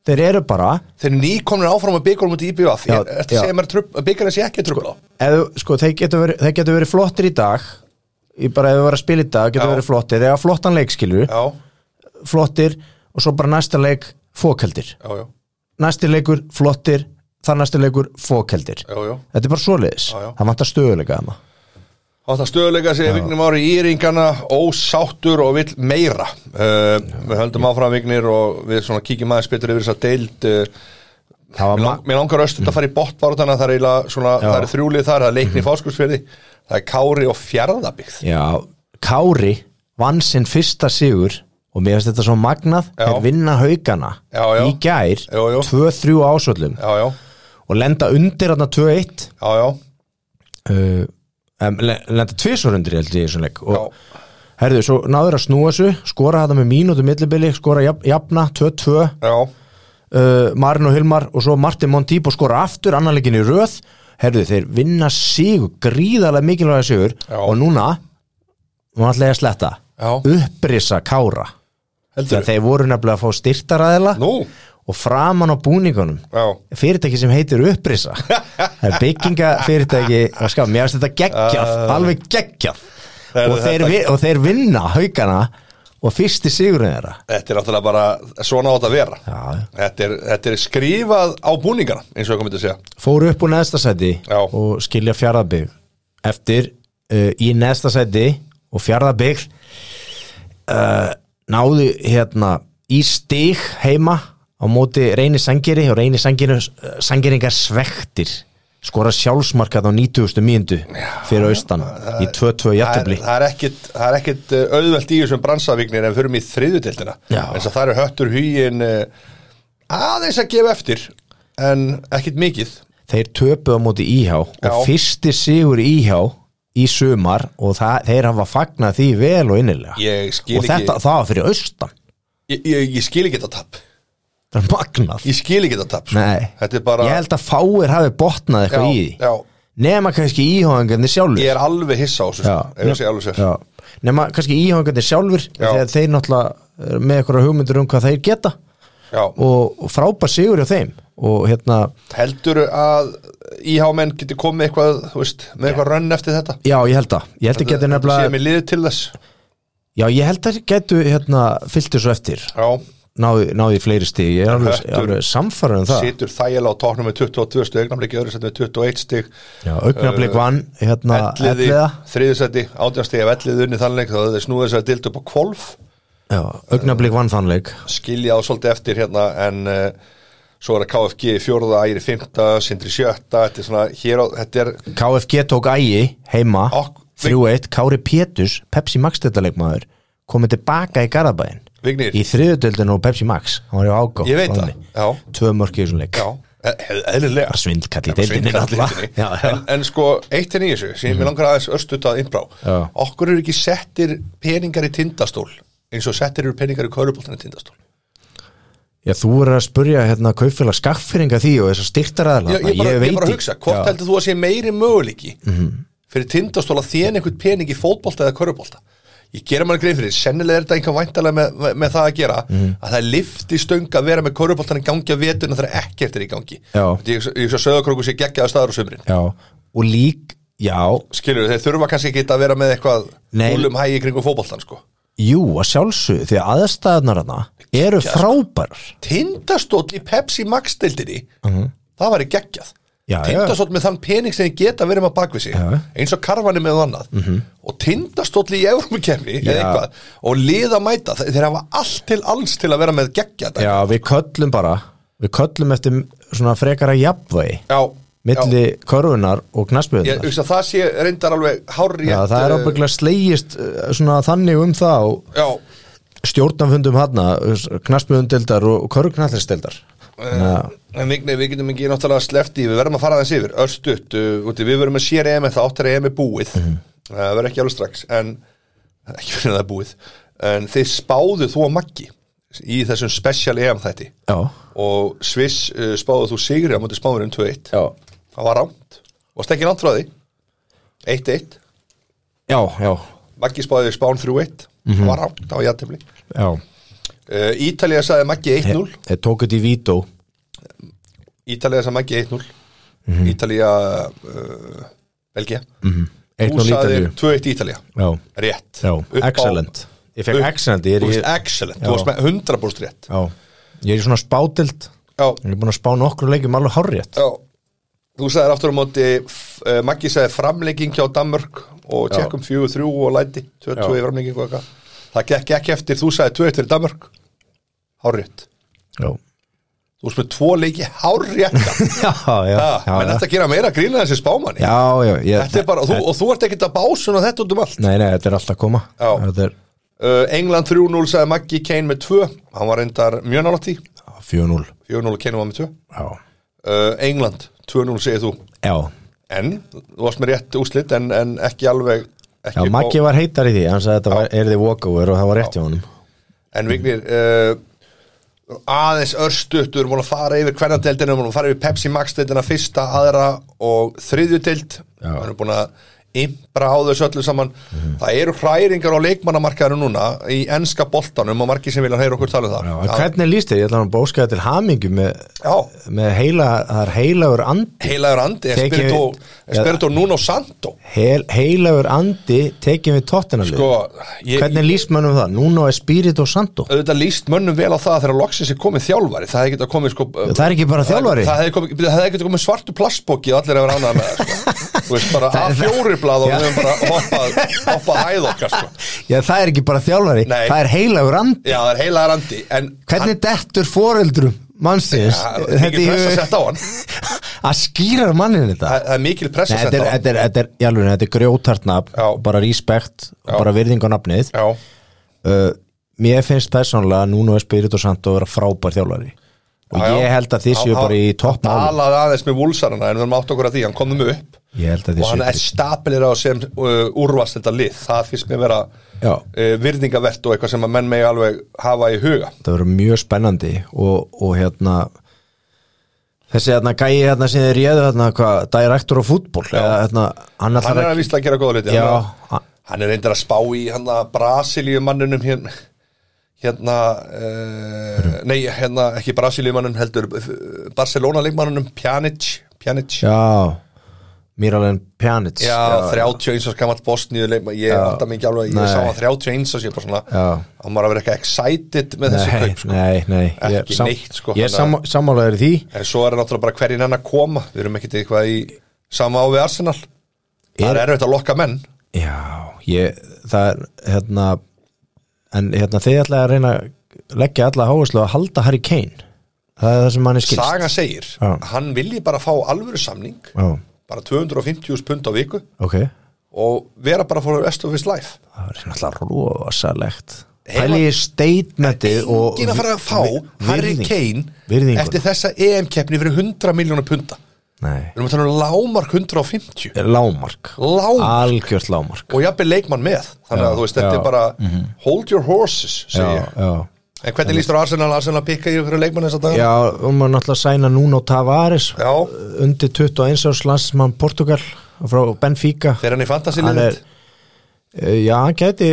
þeir eru bara,
Þeir eru nýkomnir áfram að byggar um út í IBF
Já,
Er þetta að
já.
segja mér að byggar þessi ekki að trubla á?
eða, sko, þeir getur verið, þeir getur verið flottir í dag ég bara ef við varum að spila í dag getur
Já.
verið flottir, eða flottan leik skilur
já,
flottir og svo bara næsta leik fókeldir,
já, já,
næsti leikur flottir, þar næsti leikur fókeldir,
já, já.
þetta er bara svoleiðis
Já, já.
það vantar stöðuleika þarna
Á það stöðuleika segja Vignir Mári Íringana ósáttur og vill meira uh, Við höldum áfram Vignir og við svona kíkjum aðeins betur yfir þess að deild uh,
það var
Mér, lang,
ma- Mm.
mér langar östund að fara í bóttbártana það er eiginlega svona, það er þrjúlið þar, það er
Mhm.
leikni í fáskursfjörði það er Kári og Fjarðabyggð
Já, Kári vann sinn fyrsta sigur og mér finnst þetta svo magnað
Já.
er vinna haugana
Já, já.
í gær
Jú, jú.
2-3 ásöllum
Já, já,
og lenda undir þarna 2-1
já, já,
uh, em, le- lenda tvisvar undir held ég í þessum leik
já,
og herðu, svo náður að snúa þessu skora þetta með mínútu millibili skora jaf, jafna 2-2
já,
uh, Marin og Hilmar og svo Martin Montipo skora aftur annarleikin í röð herðu þeir vinna sigur gríðarlega mikilvæga sigur
Já.
og núna nú ætla ég að sletta
Já.
upprisa Kára þegar
heldur
þeir voru nefnilega að fá styrtaraðila
Nú,
og framan á búningunum
já,
fyrirtæki sem heitir upprisa það er byggingafyrirtæki að ská, mér finnst þetta geggjað alveg geggjað
Það er
og þeir,
Eh. þetta-
vi, og þeir vinna haugana og fyrsti sigurinn þeirra
þetta er náttúrulega bara svona átt að vera
Já.
þetta er, þetta er skrifað á búningana eins og ég komið til að segja
fóru upp úr neðsta sæti
Já.
og skilja fjárðabygg eftir uh, í neðsta sæti og fjárðabygg uh, náðu hérna í stig heima á móti reyni sangeri og reyni sangeri, sangeringar svektir skora sjálfsmarkað á 90. mínundu fyrir austan í 2-2
Það er,
jættubli
það er ekkit, það er ekkit uh, auðvelt í þessum bransavíknir en förum í þriðudeldina
Já.
eins og það eru höttur hugin aðeins að gefa eftir en ekkit mikið
þeir töpuð á móti íhjá og
Já.
fyrsti sigur íhjá í sumar og það, þeir hafa fagnað því vel og innilega
Ég skil
og þetta,
ekki-
það var fyrir austan
ég, ég, ég skil ekki þetta tap
Það er magnað
ég skil ekki þetta tap sko.
Nei,
þetta er bara
ég held að fáir hafi botnað eitthvað í því
já,
Nema kannski íhóðangandi sjálfur
ég er alveg hissa á þessu sko, ef ég
Nef-
segja alveg sér
já. Nema kannski íhóðangandi sjálfur
Já.
Þegar þeir náttúrulega eru með eitthvað hugmyndur um hvað þeir geta
Já.
Og, og frábær sigur hjá þeim Og hérna,
heldur að íhámenn getur komið eitthvað þú veist, með eitthvað rönn eftir þetta
já ég held að Ég held að geti
sé
nefnilega
mér liðið til þess
Já ég held að getu hérna fyllt þessu eftir
já,
Náði, náði í fleiri stig Ég er alveg,
Höttur.
alveg samfærum um það
situr þægjala á tóknum með 22 stig eignamleiki öðru setni með 21 stig
Já, augnablik vann hérna
elliði,
elliða
þriðju seti, átján stig ef ellið unni þannleik þá hefði þeir snúið þess að dild upp á kvolf
Já, augnablik vann þannleik
skilja á svolítið eftir hérna en uh, svo er að KFG í fjórða, ægir í fymta, sindri í sjötta þetta er svona, hér á, þetta er
KFG tók ægi heima
Ok.
3-1, Kári Péturs Pepsi Max deltaleikmaður komið tilbaka í Garðabæðin
Vignir,
í þriðutöldinu og Pepsi Max hann var í ágá
Ég veit það, já.
tvö mörk í þessum leik
Já, e- e- eðlilega
bara svindkall í
Bara
deildinni
svindkall í
náttúrulega.
deildinni.
Já, já. Mhm.
en, en sko, eitt er í þessu sem ég langar aðeins örstutt að innbrá
Já.
Okkur eru ekki settir peningar í tindastól eins og settir eru peningar í köruboltan í tindastól
já, þú er að spurja hérna kaupfélag skaffyrringa því og þessar styrtaræðla
Ég, ég, bara, ég, bara hugsa, hvort heldur þú að sé meiri möguleiki fyrir tindastól að þén einhvern pening í fótbolta eða körubolta Ég gera maður greið fyrir, sennilega er þetta einhver væntalega með, með, með það að gera að það er lifti stöng að vera með köruboltan í gangi að vetuna þegar ekkert er í gangi
Já.
Ég, ég svo söðakróku sé geggjaða staður á sömurinn
já, og lík, já,
skilur, þeir þurfa kannski ekki að vera með eitthvað
Nei.
húlum hægi kringum fótboltan sko
jú, að sjálfsög því að aðstæðnar hana eru frábærar
tindastótt í Pepsi Max deildinni það væri geggjað
Já,
tindastótt með þann pening sem þið geta verið með bakvið sig
Já. Mhm.
eins og karfanir með annað og tindastótt í Evrópukefni eða
Já.
eitthvað og liða mæta, Þe- þeir hafa allt til alls til að vera með geggjað
já, við köllum bara við köllum eftir svona frekara jafnvægi
já,
milli
já.
körfunar og
Ég,
knassbjörnar
hugsa, það sé reyndar alveg eh, hárri
Já, það er ábygglega slegist eh, svona þannig um það og
já,
stjórnafundum hana knassbjörndeldar og körgnallisteldar
Eh. En Vigni, við getum ekki náttúrulega sleppt í, við verðum að fara aðeins yfir, örstutt, uh, úti, við verðum að sér EM en það áttar EM er búið,
Mhm.
Eh, það verður ekki alveg strax, en ekki verður það er búið, en þið spáðu þú að Maggi í þessum special EM þætti
Já,
og Sviss uh, spáðu þú sigri á mútið spáðurum 2-1,
já
það var rámt, varst ekki langt frá því, 1-1,
Já, já,
Maggi spáði spán 3-1, það var rámt, það var jættemli,
já
uh, Ítalija sagði Maggi 1-0,
Ég tók þetta í vító Mhm.
Ítalija sem ekki 1-0 Ítalija uh, eh, Belgia
1-0
Þú
Mhm.
sagðir
Ítalíu.
2-1 Ítalja
Já,
Rétt
já,
Upp á-
excellent Ég fekk
upp-
excellent, ég er
Þú
í
veist, e- excellent, þú
Já.
varst með 100% rétt
Já, ég er í svona spátild
Já,
Ég er búin að spá nokkru leikjum alveg hárrétt
já Þú sagðir aftur á móti f- eh, Maggi sagði framlegging hjá Danmörk og
Já.
tjekkum 4-3 og læti 2-2 í
Já.
framlegging og eitthvað Það gekk ekki eftir, þú sagði 2-1 fyrir Danmörk Hárrétt
Já,
Þú varst með tvo leiki hárrétt
já, já já,
Menn
já.
þetta gera meira grína þessi spámanni
já, já ég,
Þetta er bara, og þú, og þú ert ekkert að básun á þetta út um allt
Nei, nei, þetta er alltaf að koma
Já.
Þetta er
uh, England 3-0 sagði Maggi Kane með 2 Hann var reyndar mjög nálægt í
4-0
4-0 Kane var með 2 uh,
Já,
England 2-0 segir þú
já,
En, þú varst með rétt úrslit en, en ekki alveg ekki
já
upp á-
Maggi var heitar í því Hann sagði þetta var, er þið walkover og það var rétt hjá honum
En Vignir uh, aðeins örstutt, við erum búin að fara yfir hvernadeldina, við erum búin að fara yfir Pepsi Max deildina fyrsta, aðra og þriðjudeld
Já.
við erum búin að impra á þessu öllu saman það eru hræringar á leikmannamarkaðinu núna í enska boltanum og margir sem vilja heyra okkur tala um það
Já, en hvernig líst þið? Ég ætla hann að bóska það til hamingju með,
Já,
með heila, það er heilagur andi
heilagur andi
Tekið-
Espirito, Espirito Nuno Santo
heil, Heilagur andi tekið við tóttina
sko, ég,
Hvernig líst mönnum það? Núna er Spirito Santo
auðvitað líst mönnum vel á það þegar loksins er komið þjálfari það hefði getað komið sko
Það er ekki bara þjálfari?
það hefði komið- það hefði getað komið svartu plastbóki og allir hefur ánað með það sko. þú veist bara
Það-
A4 blað og
Já.
við höfum bara hoppað hoppað hæð okkar sko
Já, það er ekki bara þjálfari,
Nei.
það er heilagur andi
já það er heila randi en
Hvernig dettur foreldrum mannsins
hann, ja, mikil
í
pressa
hug-
sett á hann
að skýra mannin þetta?
það það er mikil
Nei,
pressa
þetta
sett
er,
á hann
þetta er, þetta er, í alvöru, þetta er grjótart nafn,
Já.
bara respekt og
Já.
bara virðing á nafnið
já
uh, Mér finnst persónlega Nuno Espirito Santo að vera frábær þjálfari og
Já, já.
ég held að þið séu
Hann-
bara í
hann- hann
toppmálum
talaði aðeins með vúlsarana en við höfum átt okkur að því hann komðum upp
Ég held að þið
og hann
séu
er stapilir á sem uh, úrvast þetta lið það finnst mér vera
Já.
uh, virðingavert og eitthvað sem að menn megi alveg hafa í huga
það verður mjög spennandi og, og hérna þessi hérna gæi hérna sem þið réðu hérna hvað, direktor á fútból eða hérna, hann
hann
ætlar
er að
að
vísla að gera góða liti
Já,
hann,
hann-
er- hann er reyndar að spá í hann að Brasilíu mannunum hérna hérna uh, nei hérna ekki Brasilíu mannunum heldur eh, Barcelona leikmannunum Pjanic Pjanic já,
já, Miralem Pjanic
já 31 og skamall Bosníu leikmann ég átta mig ekki alveg ég
Nei.
sá hann 31 og sé bara svona
Já.
hann var að vera eitthvað excited með þessi
Nei,
kaup sko.
nei, nei ég er
Ekki
sam-
neitt, sko,
Ég er
þannig
sam, sammálaður í því
en svo er náttúrulega bara hverjinn hann að koma við erum ekkit eitthvað í sama á við Arsenal það
Er-
er erfitt að lokka menn
Já, ég, það er hérna en hérna þið ætlaði að reyna að leggja alla háherslu að halda Harry Kane það er það sem manni skilst
Saga segir,
Já.
hann vilji bara fá alvöru samning
Já,
bara 250.000 pund á viku
ok Það
og vera bara for the rest of his life
er náttúrulega rosalegt
Heima-
Pæli í statementið og
enginn að fara að fá Harry
virðing-
Kane
virðinguna.
eftir þessa EM-keppni fyrir 100 miljónu punta
Nei,
við erum að tala um lámark 150
lámark
lámark
Algjört lámark
og jafnvel leikmann með
Ah.
þannig
Já,
að þú veist, þetta
já. Mhm.
er bara hold your horses,
Já,
segi ég
já
en hvernig lístur Arsenal, Arsenal pikka í fyrir leikmann þess að dag
Já, og maður náttúrulega sæna Nuno Tavares
Já.
undir 21 árs landsmann Portugal frá Benfica
fyrir
hann
hann í
er
fantasilind
Eh, Já, hann gæti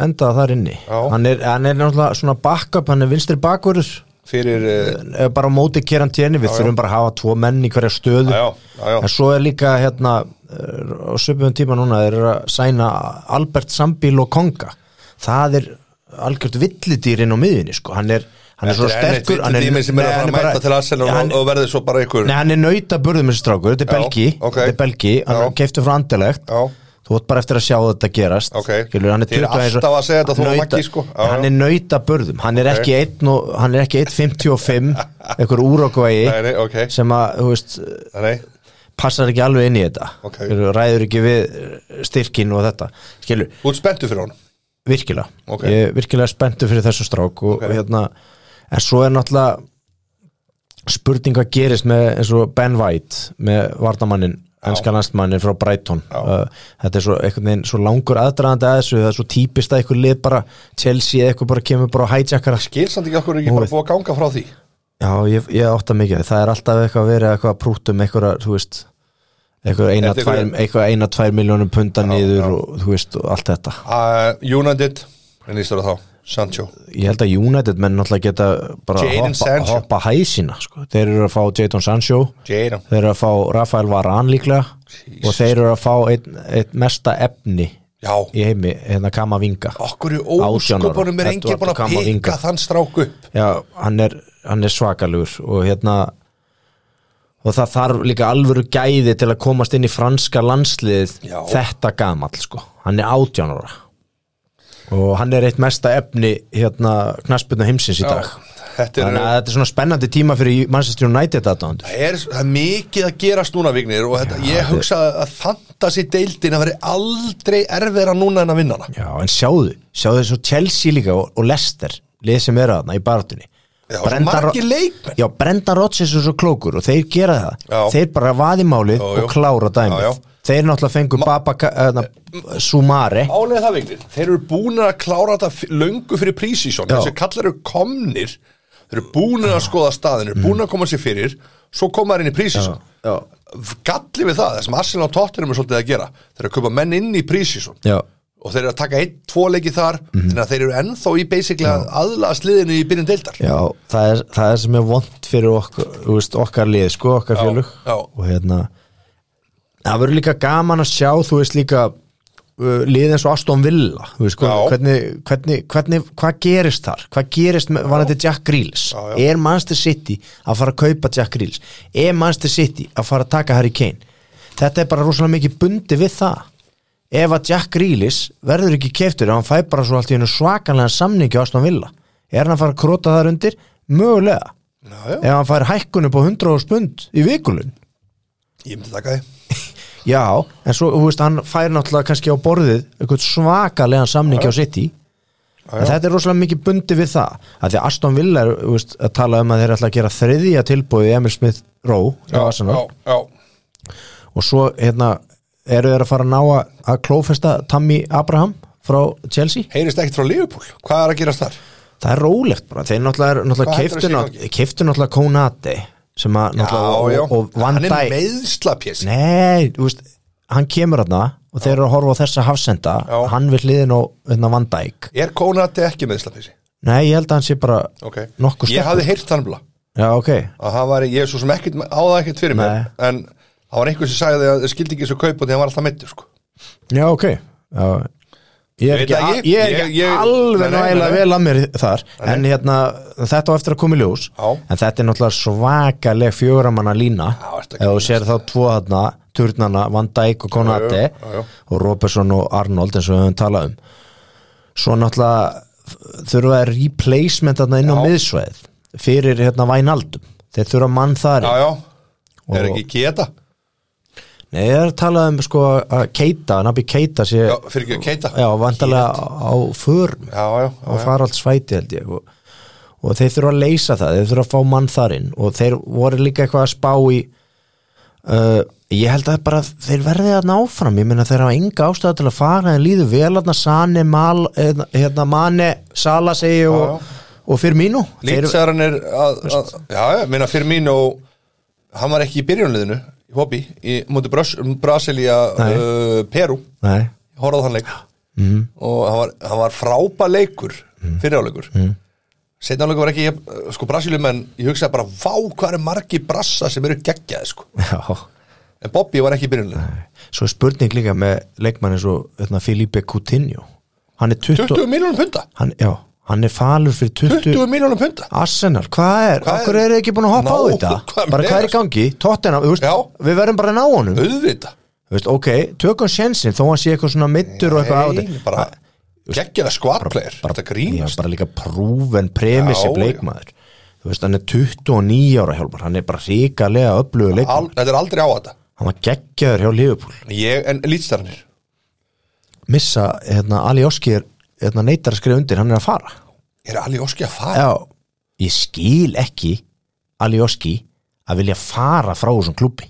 endað þar inni
Já.
hann er, hann er náttúrulega svona backup hann er vinstri bakverður
fyrir, eh,
eh, bara á móti keran tjenni, við þurfum bara að hafa tvo menn í hverja stöðu
já, já, já, já.
en svo er líka hérna eh, á söpum tíma núna er að sæna Albert Sambil og Konga það er algjört villidýr inn á miðinni sko, hann er hann er svo sterkur
hann er
Nei,
dýmið sem er að fara að mæta til Arsenal
Já, hann-
og- og verði svo bara ykkur
Nei, hann er nauta börðum þessi strákur, þetta er
Já,
belgi,
ok.
þetta er belgi hann
Já.
er keiftur frá andilegt
Já.
þú átt bara eftir að sjá þetta gerast
Ok.
Skilur, hann er
Þið eru
21
alltaf að segja þetta þó að
Nauta-
Maggi, sko. Já,
hann
já.
er nauta börðum, hann er
Ok.
ekki 1 og, hann er ekki 1.55 einhver
Nei,
úrokvægi
nei, ok,
sem að, þú veist,
nei,
passar ekki alveg inn í þetta
Ok.
Skilur, ræður ekki við eh, styrkin og þetta, skilur,
þú ert spenntu fyrir honum
virkilega
Ok.
ég er virkilega spenntu fyrir þessu strák og
Ok.
hérna, en svo er náttúrulega spurning hvað gerist með eins og Ben White með varnamannin, ennska landsmannin frá Brighton uh, þetta er svo, einhvern veginn, svo langur aðdraðandi að þessu, það er svo típist að eitthvað lið bara Chelsea eða eitthvað bara kemur bara og hijackar allt.
Gilsandi ekki okkur er ekki
Nú
bara
veit-
búið að ganga frá því
já, ég, ég átta mikið, það er alltaf eitthvað verið eitthvað að prútum eitthvað, þú veist eitthvað eina,
Þetta er
tvær,
eitthvað-
eitthvað eina, tvær miljónum punda niður
já.
og þú veist, og allt þetta
uh, United, en lístur það þá Sancho
ég held að United menn náttúrulega geta bara
Jadon
hoppa,
Sancho.
hoppa hæsina sko. þeir eru að fá Jadon Sancho
Jadon.
þeir eru að fá Rafael Varane líklega og þeir eru að fá eitt, eitt mesta efni
Já,
í heimi, hérna Kamavinga
okkur í
Átján ára.
ósköpunum er enginn
Edward
búin að
Camavinga.
pika þann strák upp
Já, hann er, hann er svakalugur og hérna og það þarf líka alvöru gæði til að komast inn í franska landsliðið
Já.
þetta gamall sko, hann er 18 ára og hann er eitt mesta efni hérna knasputna heimsins í dag
Þetta er,
þannig að þetta er svona spennandi tíma fyrir Manchester United aðdóðandur
það er, það er mikið að gerast núna vignir og þetta, ég hugsa að fantasy deildin að veri aldrei erfiðra núna en að vinna hana
Já, en sjáðu, sjáðu þessu Chelsea líka og, og Leicester, lið sem eru aðna í barðunni
Já, svo margir leikmenn.
Já, Brenda Rodgers er svo klókur og þeir gera það
Já.
Þeir bara vaði málið
Jú, jú.
og klára dæmið
Já, já.
Þeir náttúrulega fengur Baba uh, Sumare
Álega það vignir, þeir eru búin að klára þetta f- löngu fyrir prísísón
Já.
þessi kallar eru komnir þeir eru búin að skoða staðin, eru búin að koma sér fyrir svo koma þeir inn í prísísón
Mhm. Já,
galli við það, það sem Arsenal og Tottenham er svolítið að gera, þeir eru að köpa menn inn í prísísón
já,
og þeir eru að taka einn, tvo leiki þar þannig að þeir eru ennþá í basically að aðlaða sliðinu í byrjun deildar
já það, er, það er sem er vond fyrir okkur, þú veist, okkar lið, sko, okkar
Já,
fjölug
já.
Og hérna Það verður líka gaman að sjá, þú veist líka uh, lið eins og Aston Villa þú veist,
Já.
hvernig, hvernig, hvernig, hvernig, hvað gerist þar hvað gerist með, var þetta Jack Grealish
Já, já.
er Manchester City að fara að kaupa Jack Grealish er Manchester City að fara að taka Harry Kane þetta er bara rosalega mikið bundi við það ef að Jack Grealish verður ekki keftur ef hann fæ bara svo allt í hennu svakalega samningi á Aston Villa er hann að fara að króta þar undir mögulega
Já, já.
ef hann fær hækkun upp á 100 spund í vikulun
ég myndi taka því
Já, en svo, þú veist, hann fær náttúrulega kannski á borðið eitthvað svakalegan samningi á City en þetta er rosalega mikið bundi við það að því að Aston Villa er, þú veist, að tala um að þeir ætla að gera þriðja tilbúið Emil Smith Rowe hjá Arsenal
já, já.
og svo, hérna, eru þeir að fara að ná að, að klófesta Tammy Abraham frá Chelsea
heyrist ekkert frá Liverpool, hvað er að gerast þar?
það er rólegt bara, þeir náttúrulega, eru-
Hvað heldur að
náttúrulega
sé í
keiftu, keiftu náttúrulega Konate sem að, náttúrulega, og, og Van
hann er
Dijk
meðslapjess
Nei, þú veist, hann kemur hann og þeir eru að horfa á þessa hafsenda
Já.
hann vil hliðin á hérna, vandæk
er Konati ekki meðslapjess?
Nei, ég held að hann sé bara
Okay.
nokkuð
ég
sterkur.
hafði heyrt þannig
Já, ok,
að hann var, ég er svo sem ekkert á það ekkert fyrir mér
Nei.
en það var einhver sem sagði að það skildi ekki þessu kaup og því hann var alltaf meittur sko.
já, ok já. Ég er
Ég veit
ekki,
það
ég,
ekki.
ég er ekki
Ég- ég-
alveg
Nei, nei,
nægilega
nei.
vel að mér þar En hérna, þetta á eftir að koma í ljós
Já.
En þetta er náttúrulega svakaleg fjöguramanna lína
Já, ertu ekki
Ef þú
að
sér þá tvo þarna, turnana, Van Dijk og Konate
Já, já, já, já.
Og Robertson og Arnold eins og við höfum talað um Svo náttúrulega þurfa að replacement þarna inn á
Já.
miðsvæð Fyrir hérna Vænaldum Þeir þurfa mann þar
já
í.
já,
Og-
er ekki geta
Nei, ég er að tala um sko að Keita, Nabi Keita sé
já, fyrir ekki að keita já,
Já, vantarlega á förum
já,
á
já, já.
faraldsvæti held ég og, og þeir þurfa að leysa það, þeir þurfa að fá mann þar inn og þeir voru líka eitthvað að spá í uh, ég held að bara þeir verði að náfram, ég meina þeir hafa enga ástæða til að fara en líður vel að Sane, Mal, hérna, hérna Mane Sala segi ég, og, og fyrir mínu þeir,
lýtsaðan er að, að já, já, minna fyrir mín og hann var ekki í byrjunliðinu í hopi, í múti Brasilia
Nei.
uh, Peru
nei,
Ég horfði á þann leik mm. og hann var, hann var frápa leikur mm. fyriráleikur mm. setna áleikur var ekki, jafn- sko Brasiljum en ég hugsaði bara, vá hvað er margi brassa sem eru geggjaði sko,
já
en Bobby var ekki í byrjunlega
svo er spurning líka með leikmann eins og hérna, Filipe Coutinho hann er 20,
20 miljónum punta
Hann, já, hann er falur fyrir 20,
20 miljónum punta
Arsenal, hvað er?
Hvað er-
Akkur eru þið ekki búin að hoppa á
Ná,
þetta?
hvað
bara hvað er í
meinas?
gangi? Tottenham, þú veist,
Já.
við verðum bara að ná honum Þú
auðvita,
veist, Ok, tökum sjensin þó hann sé eitthvað svona middur og eitthvað á
Nei,
þetta
bara geggjaði skvartleir þetta
Já,
grínast,
bara líka prúven premissi
Já, já.
bleikmaður Þú veist, hann er 29 ára hjálpar hann er bara ríkalega upplöðu
Al,
leikmaður
þetta er aldrei á þetta
Hann var geggjaður hjá Liverpool
ég, en lýtstæranir
Missa, hérna, Ali Óskir hérna, neitar að skrifa undir, hann er að fara
er alveg óski að fara
Já, ég skil ekki Alioski að vilja fara frá þessum klubbi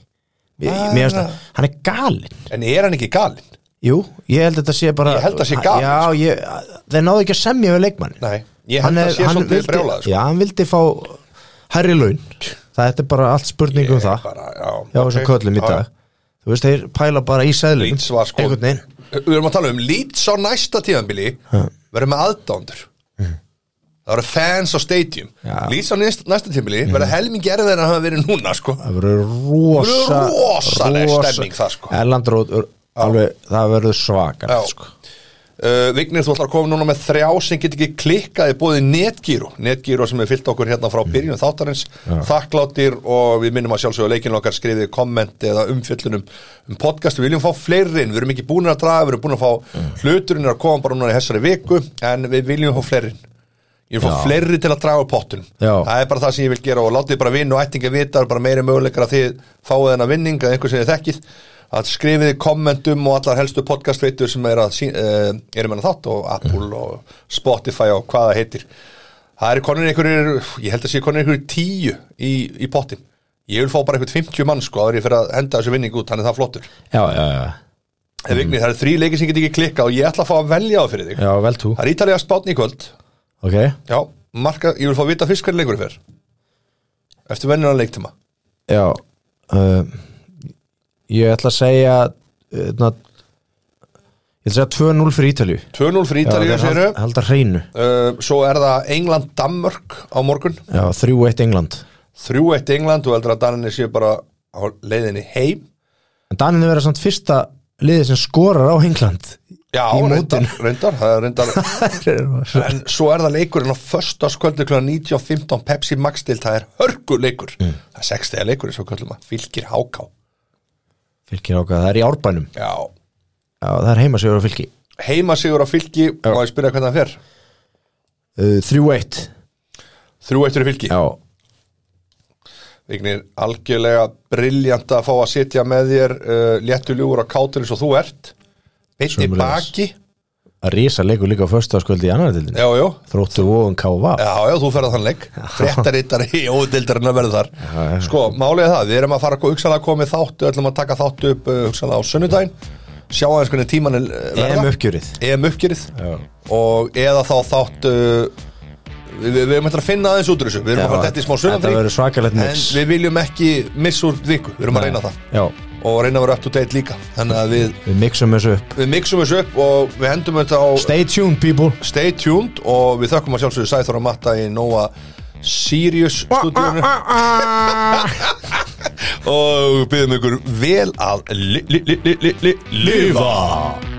Ég-
Ah.
Mér finnst það, hann er galinn
en er hann ekki galinn?
Jú, ég held að þetta sé bara
Ég held að sé galinn, sko.
Já, ég, þeir náðu ekki að semja við leikmannin
Nei, ég held að sé svolítið brjálaður sko.
Já, hann vildi fá hærri laun Það þetta er bara allt spurning um
Ég
það
bara,
Já, þessum köllum í
já, já.
dag Þú veist, þeir pæla bara í sæðlum
Leeds var sko
Einhvern veginn
Við erum að tala um Leeds á næsta tíðanbili verður með aðdándur mm. það voru fans á stadium
Já. Mm.
lýsa á næsta, næsta tímili verða helmingi erfið en að hafa verið núna sko.
það verður rosa
Það verður rosaleg stemming það, sko.
Erlandróð, alveg, það verður svakar
Já.
sko.
Uh, Vignir, þú ætlar að koma núna með þrjá sem get ekki klikkað í bóði netgíru netgíru sem er fyllt okkur hérna frá byrjun þáttarins þakklátir og við minnum að sjálfsögðu leikinu okkar skrifið komment eða umfyllunum um podcast, við viljum fá fleiri inn við erum ekki búin að draga, við erum búin að fá hluturinn er að koma bara núna í þessari viku en við viljum fá fleiri inn. ég vil fá
Já.
fleiri til að draga upp pottunum
Já.
það er bara það sem ég vil gera og látið bara vinn og ættingi vita það er bara meiri möguleikar að þið fáið hennar vinning eða einhver sem þið þekkið að skrifið í kommentum og allar helstu podcastveitur sem er að sín, uh, erum hennar þátt og Apple
Mhm.
og Spotify og hvað það heitir það eru konir einhverjir ég held að sé konir einhverjir tíu í, í pottin ég vil fá bara einhvern 50 mann sko áður en ég fyrir að henda þessu vinning út þannig að það er flottur
já, já, já,
mm. Vigni, það eru þrý leikir sem get ekki klikka og ég ætla að fá að velja það fyrir þig
Mhm. já, vel tú
það er ítalega spátn í kvöld
ok,
Já, marka, ég vil fá að vita fyrst hvernig leikur þér Eftir venjulega leiktíma
já uh, ég ætla að segja na, ég ætla að segja 2-0 fyrir Ítalju
2-0 fyrir Ítalíu, séru
hald, halda hreinu
uh, Svo er það England-Dammörk á morgun
já, 3-1 England
3-1 England og heldur að Daninni séu bara á leiðinni heim
en Danin er verið samt fyrsta liðið sem skorar á England
Já,
Í
reyndar, reyndar, það er reyndar
já,
En svo er það leikurinn á föstaskvöldu kl. 19.15 Pepsi Max til það er hörguleikur
Mm.
Það er sextega leikurinn, svo kallum að fylgir háká
fylgir ákvað, það er í árbænum
Já,
já, það er heimasjögur á fylgi
heima sigur á fylgi Má ég spyrja hvernig það fer
uh, 3-1
3-1 fyrir fylgi
já,
Vignir, algjörlega briljant að fá að sitja með þér uh, léttu ljúur á kátur eins og þú ert beinti
Sömuleiðis.
baki
að risa leikur líka á föstaskvöldi í annar dildin
já, já,
þróttu vóðum K.V.
já, já, þú ferð að þann leik fréttarittari í ódildarinn að verða
já,
þar sko, málið er það, við erum að fara að hugsanlega komið þáttu, ætlum að taka þáttu upp uh, hugsanlega á sunnudaginn, sjá aðeins hvernig tíman er uh,
EM
verða,
uppgjörið
EM uppgerið
Já.
og eða þá þáttu við, við, við erum eftir að finna aðeins út úr þessu við
Já,
erum að fara þetta í smá
þetta verður
sunnudaginn
svakalegt
en
mix
við viljum ekki missa úr viku, við erum að reyna það
já,
og reyna að vera up to date líka þannig að við,
við mixum þessu upp
við mixum þessu upp og við hendum þetta á
stay tuned people
stay tuned og við þökkum að sjálfsögðu Sæþór og Matta í Nóa Sirius stúdíunum og byggjum ykkur vel að li, li, li, li, li, li, lifa